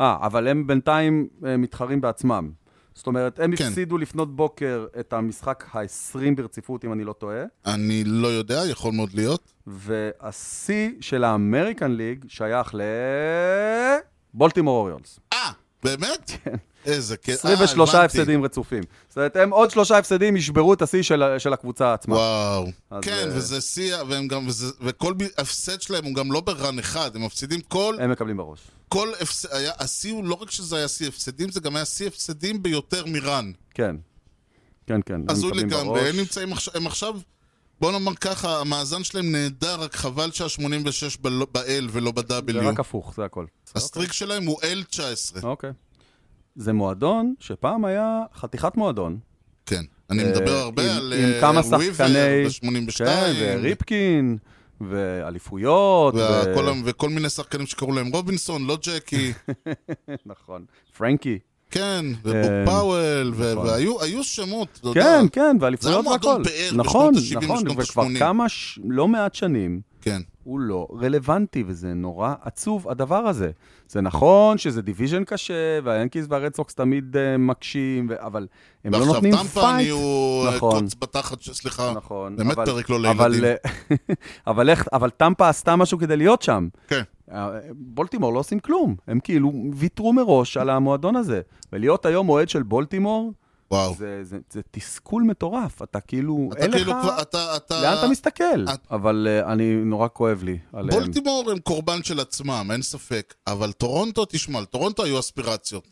אה, אבל הם בינתיים אה, מתחרים בעצמם. זאת אומרת, הם
כן.
הפסידו לפנות בוקר את המשחק ה-20 ברציפות, אם אני לא טועה,
אני לא יודע, יכול מאוד להיות.
והשיא של האמריקן ליג שייך ל... בולטימור אוריולס.
אה, באמת? איזה כיף. אה,
23 כן. הפסדים רצופים. זאת אומרת, הם עוד שלושה הפסדים ישברו את השיא של, ה- של הקבוצה עצמה.
וואו.
אז,
כן,
אה,
וזה שיא, והם גם, וזה, וכל ב- הפסד שלהם הוא גם לא ברן אחד, הם מפסידים כל,
הם מקבלים בראש.
כל הפסד, היה, השיא הוא לא רק שזה היה שיא הפסדים, זה גם היה שיא הפסדים ביותר מרן.
כן. כן, כן, הם
הזוי
מקבלים
לגמרי, הם
בראש.
נמצאים עכשיו, הם עכשיו, בוא נאמר ככה, המאזן שלהם נהדר, רק חבל שה-86 בל- לא- ב-L ולא
זה רק אוקיי.
ב-W. אוקיי.
הפוך, זה הכל.
הסטריק שלהם הוא L19.
אוקיי. זה מועדון שפעם היה חתיכת מועדון.
כן, אני מדבר הרבה על
אה, עם
אה,
כמה
וויבר
שחקני...
ב-82.
כן, וריפקין, ואליפויות, ו-
וכל, ה- וכל מיני שחקנים שקראו להם רובינסון, לא ג'קי,
נכון, פרנקי.
כן, ובוב
אה,
פאוול, ו- והיו היו שמות, אתה יודע.
כן, כן, ואליפויות
זה היה
והכל.
מועדון פאר
נכון,
בשנות ה-שבעים,
נכון,
בשנות
וכבר
ה-שמונים.
כמה, ש- לא מעט שנים,
כן.
הוא לא רלוונטי, וזה נורא עצוב, הדבר הזה. זה נכון שזה דיוויז'ן קשה, והיאנקיז והרד סוקס תמיד אה, מקשים, ו- אבל הם לא
ועכשיו
נותנים
טמפני
פייט.
הוא אה,
נכון.
קוץ בתחת, ש- סליחה,
נכון.
באמת
אבל-
פרק לא
אבל,
לילדים.
אה, אבל איך, אבל טמפה עשתה משהו כדי להיות שם.
כן.
אה, בולטימור לא עושים כלום. הם כאילו ויתרו מראש על המועדון הזה. ולהיות היום אוהד של בולטימור,
וואו.
זה, זה, זה תסכול מטורף. אתה כאילו,
אתה
אין
כאילו
לך...
כבר, אתה, אתה...
לאן אתה מסתכל?
את-
אבל אה, אני, נורא כואב לי עליהם.
בולטימור הם קורבן של עצמם, אין ספק. אבל טורונטו, תשמע, לטורונטו היו אספירציות.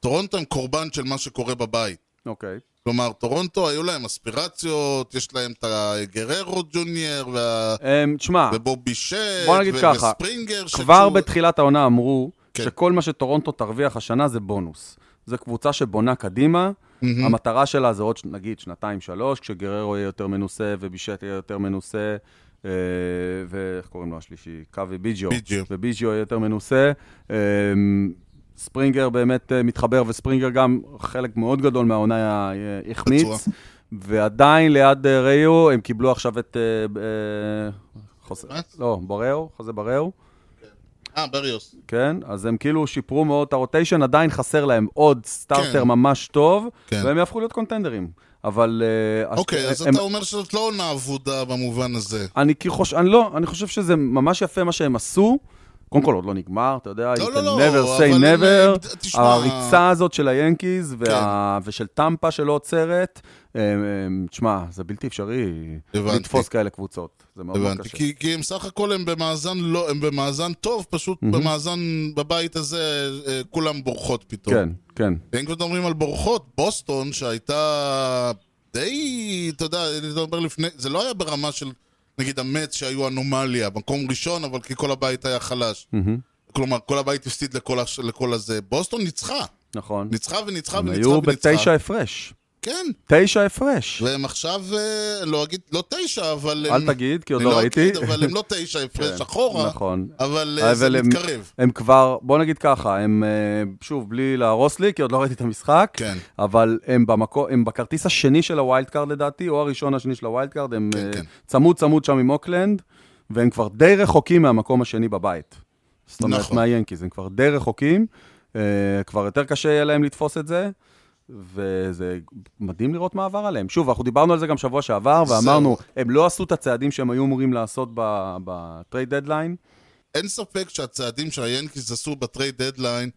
טורונטו הם קורבן של מה שקורה בבית.
אוקיי.
כלומר, טורונטו היו להם אספירציות, יש להם את הגררו ג'וניור וה...
אמ, תשמע,
ובובי שט,
בוא נגיד
ו-
ככה,
וספרינגר,
כבר
שכשהוא-
בתחילת העונה אמרו
כן.
שכל מה שטורונטו תרוויח השנה זה בונוס. זו קבוצה שבונה קדימה, המטרה שלה זה עוד, נגיד, שנתיים-שלוש, כשגררו יהיה יותר מנוסה ובישט יהיה יותר מנוסה, אה, ואיך קוראים לו השלישי? קאבי ביג'ו.
ביג'יו.
וביג'יו יהיה יותר מנוסה. אה, ספרינגר באמת אה, מתחבר, וספרינגר גם חלק מאוד גדול מהעונה אה,
פצוע.
החמיץ. ועדיין ליד אה, ריו, הם קיבלו עכשיו את... אה, אה, חוזה,
באמת?
לא, בריאו, חוזה בריאו,
אה, בריוס.
כן? אז הם כאילו שיפרו מאוד את הרוטיישן, עדיין חסר להם עוד סטארטר
כן.
ממש טוב,
כן.
והם יהפכו להיות קונטנדרים. אבל... אה, הש-
אוקיי, אז
הם-
אתה אומר שזאת לא עונה אבודה במובן הזה.
אני כי חוש... אני לא, אני חושב שזה ממש יפה מה שהם עשו. קודם כל, עוד לא נגמר, אתה יודע,
לא,
you
לא,
can
לא,
never
אבל
say
הם-
never.
הם- תשמע- כן.
הריצה הזאת של היאנקיז וה... ושל טמפה שלא עוצרת, אה, אה, תשמע, זה בלתי אפשרי
הבנתי.
לתפוס כאלה קבוצות. זה מאוד מאוד
הבנתי,
לא, קשה.
כי, כי הם סך הכל הם במאזן לא, הם במאזן טוב, פשוט במאזן בבית הזה אה, כולם בורחות פתאום.
כן, כן.
ואם כבר מדברים על בורחות, בוסטון שהייתה די, אתה יודע, אני מדבר לפני, זה לא היה ברמה של נגיד המץ שהיו אנומליה, מקום ראשון, אבל כי כל הבית היה חלש. כלומר, כל הבית הפסיד לכל, הש- לכל הזה. בוסטון ניצחה,
נכון.
ניצחה וניצחה
הם
וניצחה
היו
וניצחה.
בתשע הפרש.
כן,
תשע הפרש.
והם עכשיו, אה, לא אגיד, לא תשע, אבל... הם-
אל תגיד, כי עוד
אני
לא ראיתי.
אגיד, אבל הם לא תשע הפרש
כן,
אחורה.
נכון.
אבל אה, זה
אבל הם-
מתקרב.
הם כבר, בוא נגיד ככה, הם, אה, שוב, בלי להרוס לי, כי עוד לא ראיתי את המשחק,
כן.
אבל הם, במקו, הם בכרטיס השני של הווילד קארד לדעתי, או הראשון השני של הווילד קארד, הם
כן,
אה,
כן.
צמוד צמוד שם עם אוקלנד, והם כבר די רחוקים מהמקום השני בבית. זאת אומרת,
נכון.
מהיאנקיז, הם כבר די רחוקים, אה, כבר יותר קשה יהיה להם לתפוס את זה. וזה מדהים לראות מה עבר עליהם. שוב, אנחנו דיברנו על זה גם שבוע שעבר, ואמרנו, הם לא עשו את הצעדים שהם היו אמורים לעשות ב- בטרייד דדליין.
אין ספק שהצעדים שהיאנקיס עשו בטרייד דדליין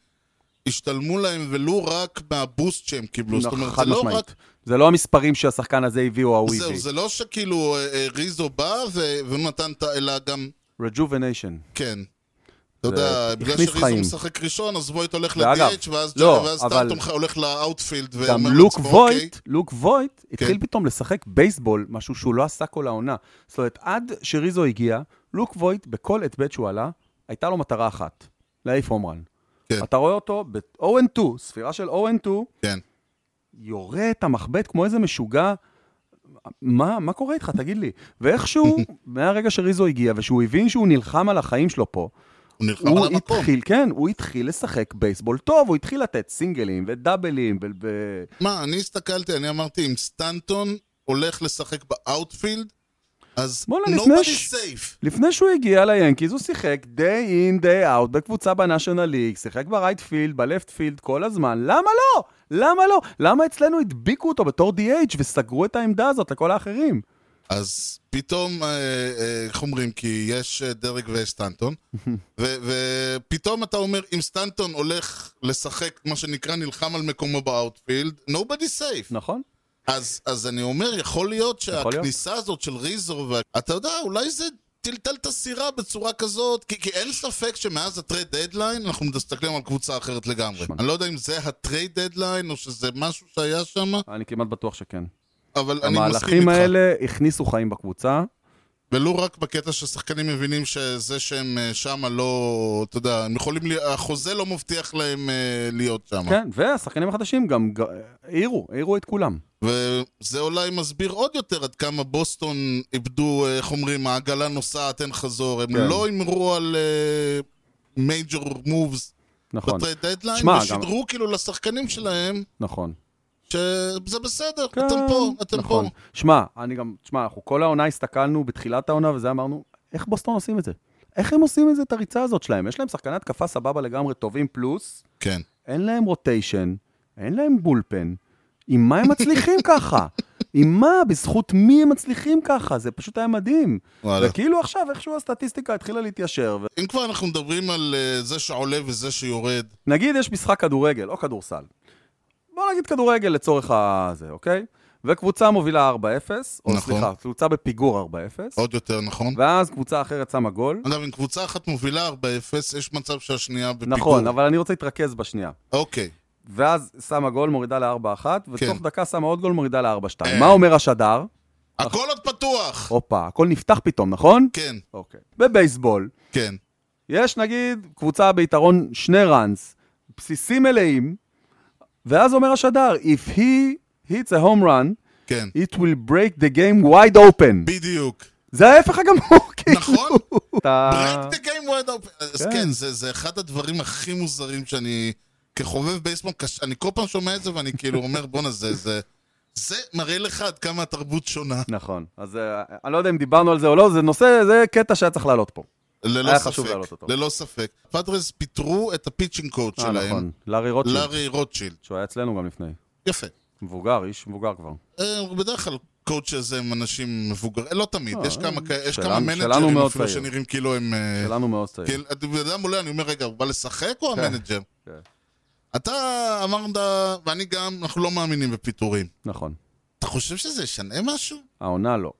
השתלמו להם ולו רק מהבוסט שהם קיבלו. זאת אומרת,
נכון, חד
זה לא
משמעית.
רק...
זה לא המספרים שהשחקן הזה הביא או ההוא
זהו,
הביא.
זה לא שכאילו אה, אה, ריזו בא ו- והוא נתן את ה... אלא גם,
רג'ובניישן.
כן. אתה יודע, בגלל
הכניס
שריזו
חיים.
משחק ראשון, אז וויט הולך
ואגב,
ל-DH, ואז
לא,
ואז
אבל-
טנטום הולך לאאוטפילד.
גם
ואומר
לוק
לעצמו, אוקיי,
וויט, לוק וויט התחיל פתאום לשחק בייסבול, משהו שהוא לא עשה כל העונה. זאת אומרת, עד שריזו הגיע, לוק וויט, בכל את בית שהוא עלה, הייתה לו מטרה אחת, להעיף הומרן.
כן.
אתה רואה אותו ב-0-2, ספירה של 0-2,
כן.
יורה את המחבט כמו איזה משוגע. מה, מה קורה איתך? תגיד לי. ואיכשהו, מהרגע שריזו הגיע, ושהוא הבין שהוא נלחם על החיים שלו פה,
הוא נלחם
הוא
על המקום.
התחיל, כן, הוא התחיל לשחק בייסבול טוב, הוא התחיל לתת סינגלים ודאבלים ו... ו-
מה, אני הסתכלתי, אני אמרתי, אם סטנטון הולך לשחק באאוטפילד, אז
בואנה, לפני
nobody
ש-
safe.
לפני שהוא הגיע ליאנקיז, הוא שיחק day in, day out בקבוצה בנאשונל ליג, שיחק ברייט פילד, בלפט פילד כל הזמן, למה לא? למה לא? למה אצלנו הדביקו אותו בתור DH וסגרו את העמדה הזאת לכל האחרים?
אז פתאום, אה, אה, איך אומרים, כי יש אה, דרג ויש סטנטון, ו- ופתאום אתה אומר, אם סטנטון הולך לשחק, מה שנקרא, נלחם על מקומו באאוטפילד, nobody safe.
נכון?
אז, אז אני אומר, יכול להיות
יכול להיות.
שהכניסה הזאת של ריזו, ואתה יודע, אולי זה טלטל את הסירה בצורה כזאת, כי, כי אין ספק שמאז הטרייד דדליין אנחנו מסתכלים על קבוצה אחרת לגמרי.
נכון.
אני לא יודע אם זה הטרייד דדליין או שזה משהו שהיה שם, אבל
אני כמעט בטוח שכן.
אני מסכים
המהלכים
איתך.
האלה הכניסו חיים בקבוצה,
ולו רק בקטע ששחקנים מבינים שזה שהם שם לא, אתה יודע, הם יכולים, ל- החוזה לא מבטיח להם אה, להיות שם.
כן, והשחקנים החדשים גם ג- העירו, העירו את כולם.
וזה אולי מסביר עוד יותר עד כמה בוסטון איבדו, אה, איך אומרים, העגלה נוסעת, אין חזור. הם
כן.
לא הימרו על אה, מייג'ור מובס
נכון,
בטרייד דדליין,
שמע,
ושידרו כאילו לשחקנים שלהם
נכון.
שזה בסדר,
כן,
אתם פה, אתם
נכון.
פה.
שמע, אני גם, שמע, אנחנו כל העונה הסתכלנו בתחילת העונה, וזה אמרנו, איך בוסטון עושים את זה? איך הם עושים את זה, את הריצה הזאת שלהם? יש להם שחקני התקפה סבבה לגמרי, טובים פלוס,
כן.
אין להם רוטיישן, אין להם בולפן. עם מה הם מצליחים ככה? עם מה? בזכות מי הם מצליחים ככה? זה פשוט היה מדהים.
וואלה.
וכאילו עכשיו איכשהו הסטטיסטיקה התחילה להתיישר. ו...
אם כבר אנחנו מדברים על אה, זה שעולה וזה שיורד,
נגיד יש משחק כדורגל, או כדורסל. בוא נגיד כדורגל לצורך הזה, אוקיי? וקבוצה מובילה 4-0, או
נכון.
סליחה, קבוצה בפיגור 4-0,
עוד יותר נכון.
ואז קבוצה אחרת שמה גול.
אגב, אם קבוצה אחת מובילה 4-0, יש מצב שהשנייה בפיגור.
נכון, אבל אני רוצה להתרכז בשנייה.
אוקיי.
ואז שמה גול, מורידה ל-4-1, ותוך
כן.
דקה שמה עוד גול, מורידה ל-4-2.
אה.
מה אומר השדר?
הכל עוד פתוח!
הופה, הכל נפתח פתאום, נכון?
כן,
אוקיי. בבייסבול,
כן.
יש נגיד קבוצה ביתרון שני ראנס, בסיסים מלאים, ואז אומר השדר, If he hits a home run,
כן,
it will break the game wide open.
בדיוק.
זה ההפך הגמור, כאילו.
נכון?
אתה-
break the game wide open. אז
כן.
כן, זה זה אחד הדברים הכי מוזרים שאני, כחובב בייסבול, קש- אני כל פעם שומע את זה ואני כאילו אומר, בואנה, זה, זה... זה מראה לך עד כמה התרבות שונה.
נכון, אז אה, אני לא יודע אם דיברנו על זה או לא, זה נושא, זה קטע שהיה צריך לעלות פה.
ללא
היה
ספק.
חשוב להעלות אותו.
ללא ספק. פאדרס פיטרו את הפיצ'ינג קוד
אה, נכון,
שלהם,
לארי רוטשילד,
לארי רוטשילד.
שהוא היה אצלנו גם לפני.
יפה.
מבוגר, איש מבוגר כבר.
אה, בדרך כלל קואוצ'ז הם אנשים מבוגרים, לא תמיד,
אה,
יש כמה כאלה- יש
שלנו-
כמה
שלנו
מנג'רים
מאוד
אפילו
צעיר.
שנראים כאילו הם... אה,
שלנו מאוד צעיר.
כאילו, בן אדם עולה, אני אומר, רגע, הוא בא לשחק או
כן,
המנג'ר?
כן.
אתה אמרת, ואני גם, אנחנו לא מאמינים בפיטורים.
נכון.
אתה חושב שזה ישנה משהו?
העונה לא.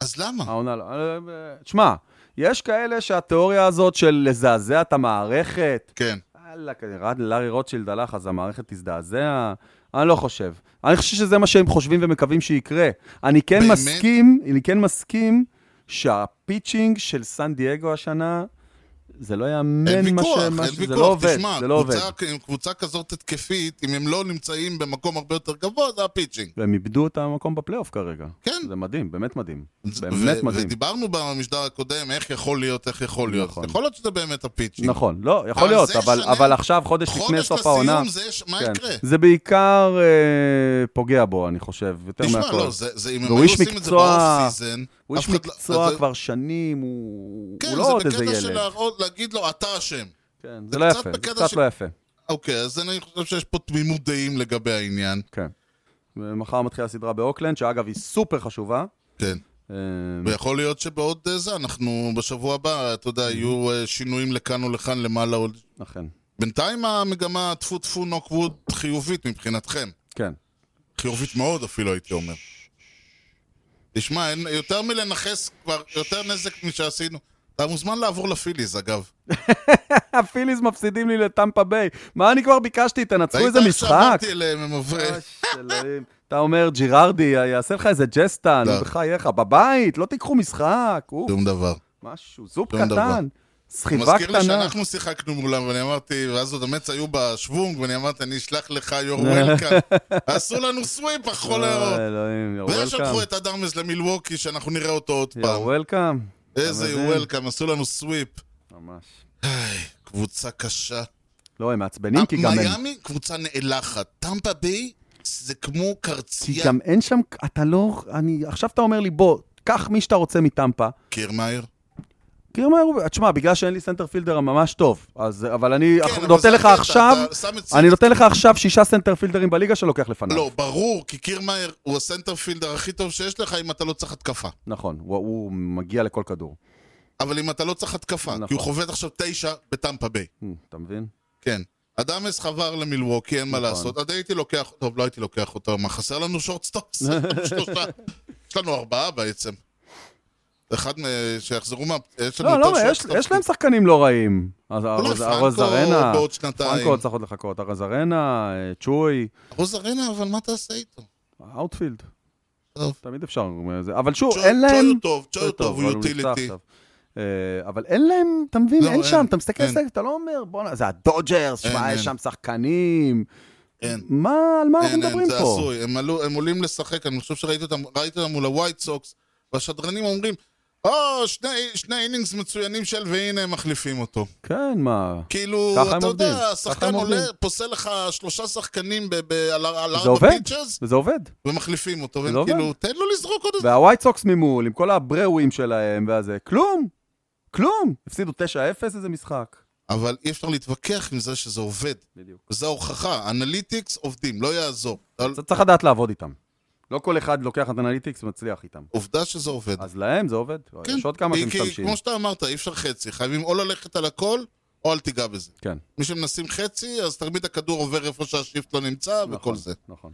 אז למה?
העונה לא. אה, אה, תשמע, יש כאלה שהתיאוריה הזאת של לזעזע את המערכת,
כן.
וואלה, כנראה לארי רוטשילד הלך, אז המערכת תזדעזע? אני לא חושב. אני חושב שזה מה שהם חושבים ומקווים שיקרה. אני כן
באמת?
מסכים, אני כן מסכים שהפיצ'ינג של סן דייגו השנה, זה לא
אין
יאמן מה
ויכוח,
שהם...
אין
זה לא
ויכוח.
עובד,
תשמע,
זה לא עובד.
קבוצה- עם קבוצה כזאת התקפית, אם הם לא נמצאים במקום הרבה יותר גבוה, זה הפיצ'ינג.
והם איבדו את המקום בפלייאוף כרגע.
כן.
זה מדהים, באמת מדהים. באמת
ו-
מדהים.
ודיברנו במשדר הקודם, איך יכול להיות, איך יכול להיות.
נכון.
יכול להיות שזה באמת הפיצ'ינג.
נכון, לא, יכול
אבל
להיות,
זה
אבל,
ישנה-
אבל עכשיו, חודש לפני
חודש
סוף העונה... כן,
לסיום, זה יש- מה יקרה?
זה בעיקר אה, פוגע בו, אני חושב, יותר
תשמע,
מהכל.
לא, זה, זה, אם הם
והוא
היו
איש
עושים את זה
מקצוע-
באוף סיזן,
הוא איש מקצוע כבר שנים, הוא,
לא- כן,
הוא לא עוד
זה
איזה
בקטע של
ילד.
להראות, להגיד לו, אתה אשם.
כן, זה
זה
לא
קצת
יפה, זה
בקטע
קצת
של-
לא יפה.
אוקיי, אז אני חושב שיש פה תמימות דעים לגבי העניין.
כן. ומחר מתחילה הסדרה באוקלנד, שאגב היא סופר חשובה.
כן.
אה,
ויכול להיות שבעוד אה, זה, אנחנו בשבוע הבא, אתה יודע, יהיו אה, שינויים לכאן ולכאן, למעלה או...
אכן,
בינתיים המגמה, טפו טפו נוק ווד, חיובית מבחינתכם.
כן.
חיובית מאוד אפילו, הייתי אומר. תשמע, אין- יותר מלנכס כבר, יותר נזק משעשינו. אתה מוזמן לעבור לפיליז, אגב.
הפיליז מפסידים לי לטמפה ביי. מה אני כבר ביקשתי? תנצחו איזה
ראית איך
משחק. אה,
שעברתי אליהם, הם עוברי...
אוש, אלוהים. אתה אומר, ג'ירארדי, יעשה לך איזה ג'סטה, נו
לא.
בחייך, בבית, לא תיקחו משחק, אוף,
שום דבר.
משהו, זופ
שום דבר.
קטן,
הוא
סחיבה
מזכיר לי
קטנה.
שאנחנו שיחקנו מולם, ואני אמרתי, ואז עוד המץ היו בשוונג, ואני אמרתי, אני אשלח לך יור וולקאם. עשו לנו סוויפ, החול
אה,
הירוק.
אלוהים, you're
ואז שלחו
welcome.
את אדרמס למילווקי, שאנחנו נראה אותו עוד
You're
פעם.
welcome.
איזה
אתה
יור
מבין?
וולקאם, עשו לנו סוויפ.
ממש.
קבוצה קשה.
לא, הם מעצבנים, כי גם הם...
אה, מיאמי, קבוצה נאלחת. טמפה ביי, זה כמו
כי
קרצייה.
גם אין שם, אתה לא, אני, עכשיו אתה אומר לי, בוא, קח מי שאתה רוצה מטמפה.
קירמאייר.
כי אומר, תשמע, בגלל שאין לי סנטרפילדר ממש טוב, אז, אבל אני
כן, אבל
נותן
זה
לך
הקטע,
עכשיו,
אתה שם את
אני נותן לך עכשיו שישה סנטרפילדרים בליגה שלוקח לפניו.
לא, ברור, כי קירמאייר הוא הסנטרפילדר הכי טוב שיש לך אם אתה לא צריך התקפה.
נכון, הוא- הוא מגיע לכל כדור.
אבל אם אתה לא צריך התקפה,
נכון.
כי הוא חובט עכשיו תשע בטמפה ביי.
אה, אתה מבין?
כן. אדמס חבר למילווקי, אין מה
נכון.
לעשות. עד הייתי לוקח, טוב, לא הייתי לוקח אותו, מה, חסר לנו שורטסטופס? שלושה. יש לנו ארבעה בעצם. אחד מה- שיחזרו מה... יש לנו
לא, לא,
יותר
יש-
shortstops.
יש להם שחקנים לא רעים. אז
אולי
הרוז-
לא, פרנקו לא
הרוזרנה,
בעוד שנתיים.
פרנקו עוד צריך עוד לחכות, הרוזרנה, אה, צ'וי,
רוז ארנה, אבל מה תעשה איתו?
האוטפילד.
טוב.
תמיד אפשר, אה, זה- אבל שוב,
צ'ו-
אין להם...
צ'וי הוא טוב, צ'וי הוא טוב, הוא
אבל נפצע
יוטיליטי.
עכשיו. אה, אבל אין להם, אתה מבין,
לא,
אין
אין,
שם, אתה מסתכל על
אין.
זה, אתה לא אומר, בואנה, זה הדודג'רס,
אין,
שמע, יש
אין.
שם שחקנים.
אין.
מה, על מה אנחנו
אין, אין,
מדברים
כן, זה
פה?
עשוי. הם עלו- הם עולים לשחק, אני חושב שראיתי אותם ראיתי אותם מול הווייט סוקס, והשדרנים אומרים, או, שני, שני אינינגס מצוינים של והנה הם מחליפים אותו.
כן, מה?
כאילו,
ככה הם
אתה
עובדים,
יודע,
ככה
השחקן
הם
עולה,
עובדים.
פוסל לך שלושה שחקנים ב- ב- על ה- על
זה
ארבע
עובד,
פיצ'רס,
זה עובד.
ומחליפים אותו,
זה
והם
עובד.
כאילו, תן לו לזרוק עוד איזה...
והווייט סוקס ממול, עם כל הברווים שלהם והזה, כלום! כלום! הפסידו 9-0 איזה משחק.
אבל אי אפשר להתווכח עם זה שזה עובד.
בדיוק.
זו ההוכחה, אנליטיקס עובדים, לא יעזור. אבל
צריך לדעת לעבוד איתם. לא כל אחד לוקח את אנליטיקס ומצליח איתם.
עובדה שזה עובד.
אז להם זה עובד.
כן,
יש עוד כמה
כי- כי
שמשתמשים.
כמו שאתה אמרת, אי אפשר חצי, חייבים או ללכת על הכל, או אל תיגע בזה.
כן.
מי שמנסים חצי, אז תמיד הכדור עובר איפה שהשיפט לא נמצא,
נכון,
וכל זה.
נכון.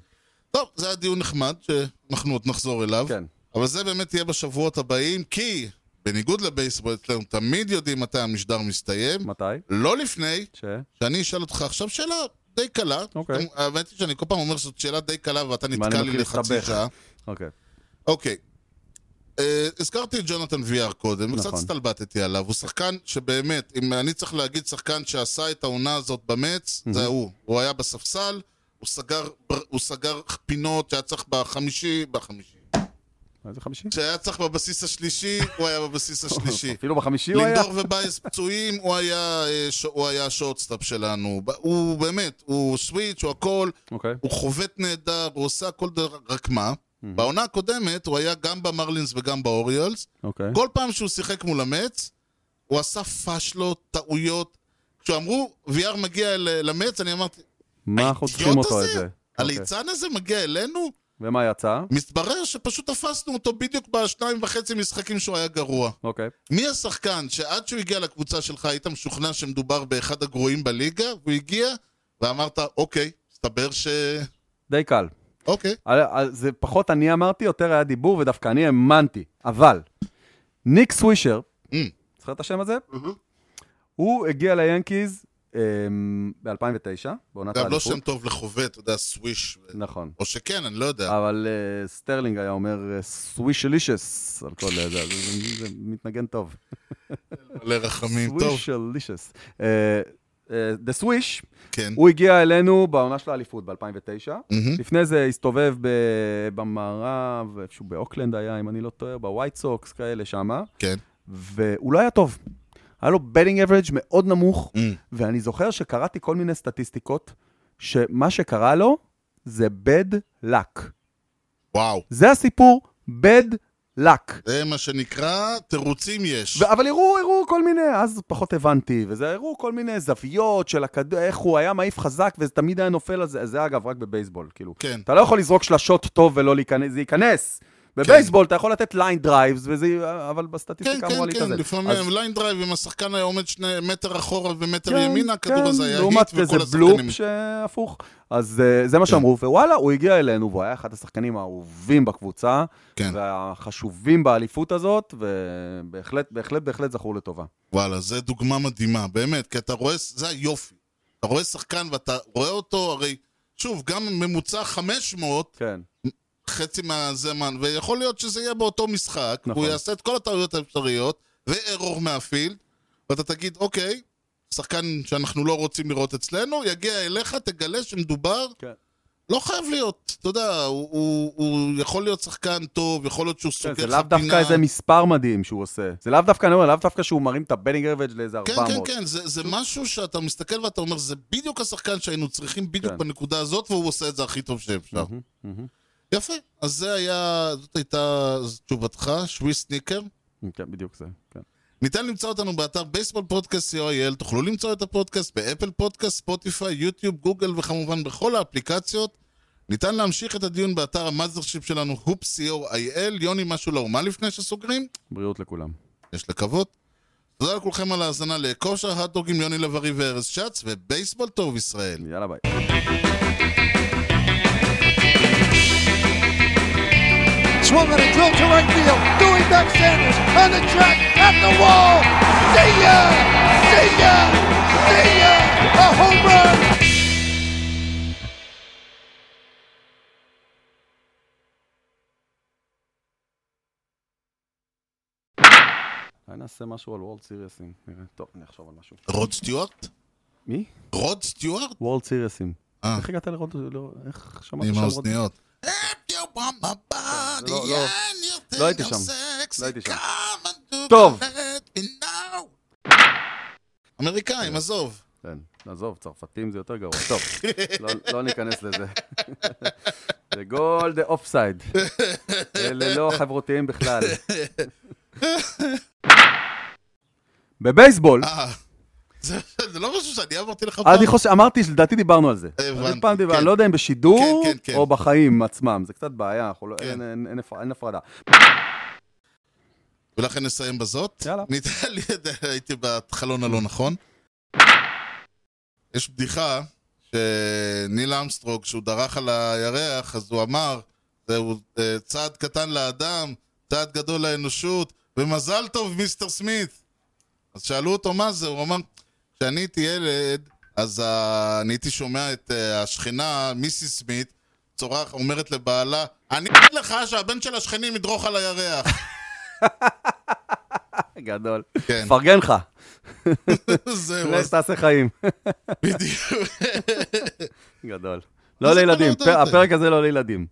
טוב, זה היה דיון נחמד, שאנחנו עוד נחזור אליו.
כן.
אבל זה באמת יהיה בשבועות הבאים, כי בניגוד לבייסבול, אצלנו תמיד יודעים מתי המשדר מסתיים.
מתי?
לא לפני
ש...
שאני אשאל אותך עכשיו שאלה די קלה.
אוקיי.
אתם- האמת היא שאני כל פעם אומר שזאת שאלה די קלה, ואתה נתקע לי
מתחיל
לחצי
להסתבך.
שעה.
אוקיי.
אוקיי. אה, הזכרתי את ג'ונתן ויאר קודם,
נכון.
וקצת הסתלבטתי עליו. הוא שחקן שבאמת, אם אני צריך להגיד שחקן שעשה את העונה הזאת במץ, זה הוא. הוא היה בספסל, הוא סגר, בר- הוא סגר פינות שהיה צריך בחמישי, בחמישי.
איזה חמישי?
שהיה צריך בבסיס השלישי, הוא היה בבסיס השלישי.
אפילו בחמישי אוקיי. הוא היה?
לינדור ובייס פצועים, הוא היה, אה, ש- הוא היה השורטסטאפ שלנו. ב- הוא באמת, הוא סוויץ', הוא הכל,
אוקיי.
הוא חובט נהדר, הוא עושה הכל דבר, רק מה? בעונה הקודמת הוא היה גם במרלינס וגם באוריולס.
אוקיי.
כל פעם שהוא שיחק מול המץ, הוא עשה פאשלות, טעויות. כשאמרו, VR מגיע אל- למץ, אני אמרתי,
מה אנחנו צריכים
האידיוט
אותו את
הזה?
זה? אוקיי.
הליצן הזה מגיע אלינו?
ומה יצא?
מתברר שפשוט תפסנו אותו בדיוק בשניים וחצי משחקים שהוא היה גרוע.
אוקיי.
מי השחקן שעד שהוא הגיע לקבוצה שלך היית משוכנע שמדובר באחד הגרועים בליגה, והוא הגיע ואמרת, אוקיי, מסתבר ש...
די קל.
אוקיי.
על- על- זה פחות אני אמרתי, יותר היה דיבור, ודווקא אני האמנתי. אבל, ניק סווישר,
Mm.
זוכר את השם הזה? הוא הגיע ליאנקיז ב-2009, בעונת
אגב, לא
האליפות.
שם טוב לחובט, אתה יודע, סוויש.
נכון.
או שכן, אני לא יודע.
אבל אה, סטרלינג היה אומר אה, סווישלישס על כל זה, זה- זה זה מתנגן טוב. אה,
לרחמים. טוב,
סווישלישס. אה, דה סוויש,
כן.
הוא הגיע אלינו בעונה של האליפות ב-2009.
מהמם.
לפני זה הסתובב ב- במערב, איפשהו באוקלנד היה, אם אני לא טועה, בווייט סוקס כאלה שמה,
כן.
והוא לא היה טוב. היה לו בטינג אברג' מאוד נמוך,
Mm.
ואני זוכר שקראתי כל מיני סטטיסטיקות, שמה שקרה לו זה bad luck.
וואו.
זה הסיפור, bad luck.
זה מה שנקרא, תירוצים יש.
ו- אבל הראו, הראו כל מיני, אז פחות הבנתי, וזה הראו כל מיני זוויות של הכדור, איך הוא היה מעיף חזק, וזה תמיד היה נופל על זה, זה אגב רק בבייסבול, כאילו.
כן.
אתה לא יכול לזרוק שלשות טוב ולא להיכנס, זה ייכנס. בבייסבול אתה יכול לתת ליין דרייבס, וזה, אבל
כן,
בסטטיסטיקה אמורה
כן,
להתאזן.
כן, לפעמים
אז-
ליין דרייב, אם השחקן היה עומד שני מטר אחורה ומטר
כן,
ימינה, הכדור הזה היה היט,
לעומת איזה
וכל
בלופ
השחקנים... כן.
שהפוך. אז אה, זה מה שאמרו, ווואלה, הוא הגיע אלינו, והוא היה אחד השחקנים האהובים בקבוצה,
כן.
והחשובים באליפות הזאת, ובהחלט, בהחלט, בהחלט זכור לטובה.
וואלה, זו דוגמה מדהימה, באמת, כי אתה רואה, זה היופי. אתה רואה שחקן ואתה רואה אותו, הרי, שוב, גם ממוצע 500,
כן.
חצי מהזמן, ויכול להיות שזה יהיה באותו משחק,
נכון.
הוא יעשה את כל הטעויות האפשריות, ואירור מהפילד, ואתה תגיד, אוקיי, שחקן שאנחנו לא רוצים לראות אצלנו, יגיע אליך, תגלה שמדובר...
כן.
לא חייב להיות, אתה יודע, הוא, הוא, הוא יכול להיות שחקן טוב, יכול להיות שהוא סוגר
כן,
לך
זה
פינה.
לאו דווקא איזה מספר מדהים שהוא עושה. זה לאו דווקא, אני אומר, לאו דווקא שהוא מרים את הבנינג אברג' לאיזה
כן,
400.
כן, כן, זה, זה משהו שאתה מסתכל ואתה אומר, זה בדיוק השחקן שהיינו צריכים בדיוק
כן.
בנקודה הזאת, והוא עושה את זה הכי טוב שאפשר.
לא. מהמם, מהמם.
יפה, אז זה היה, זאת הייתה תשובתך, שווי סניקר.
כן, בדיוק זה. כן.
ניתן למצוא אותנו באתר בייסבול פודקאסט co.il, תוכלו למצוא את הפודקאסט באפל פודקאסט, ספוטיפיי, יוטיוב, גוגל וכמובן בכל האפליקציות. ניתן להמשיך את הדיון באתר המאזרשיפ שלנו, הופ co.il, יוני משהו לאומה לפני שסוגרים,
בריאות לכולם.
יש לקוות. תודה לכולכם על ההאזנה לכושר הדוג עם יוני לב-ארי וארז שץ, ובייסבול טוב ישראל.
יאללה ביי.
Swung and a drill to right field. Dewey back Sanders on the track at the wall. See ya! See ya! See ya! A home run!
אולי נעשה משהו על וולד סיריוסים. נראה. טוב, אני אחשוב על משהו.
רוד סטיוארט?
מי?
רוד סטיוארט?
וולד סיריוסים.
אה.
איך הגעת לראות? לא- איך שמעת
עם
שם עוד?
האוזניות. If you want my body
לא, לא.
and you
לא הייתי
think I'm
שם.
sexy,
לא הייתי שם.
come and
טוב.
let me know. אמריקאים, עזוב.
כן, עזוב, צרפתים זה יותר גרוע. טוב, לא, לא ניכנס לזה. זה גול דה אופסייד. אלה לא חברותיים בכלל. בבייסבול,
אה, זה זה לא משהו שאני אמרתי לך פעם.
אני חושב, אמרתי, לדעתי דיברנו על זה.
הבנתי,
אבל פעם דיברנו,
כן.
אני לא יודע אם בשידור
כן, כן, כן.
או בחיים עצמם, זה קצת בעיה, אנחנו לא-
כן.
אין- אין- אין הפר- אין הפרדה.
ולכן נסיים בזאת.
יאללה.
ניתן לי את זה, הייתי בחלון הלא נכון. יש בדיחה שניל אמסטרוג, כשהוא דרך על הירח, אז הוא אמר, זהו אה, צעד קטן לאדם, צעד גדול לאנושות, ומזל טוב, מיסטר סמית. אז שאלו אותו מה זה, הוא אמר, כשאני הייתי ילד, אז ה- אני הייתי שומע את אה, השכנה, מיסיס סמית, צורח, אומרת לבעלה, אני אגיד לך שהבן של השכנים ידרוך על הירח.
גדול.
כן.
פרגן לך,
זהו,
לך
אז
תעשה חיים.
בדיוק.
גדול. לא
זה כבר
לילדים,
לא
פר-
יודע.
הפרק הזה לא לילדים.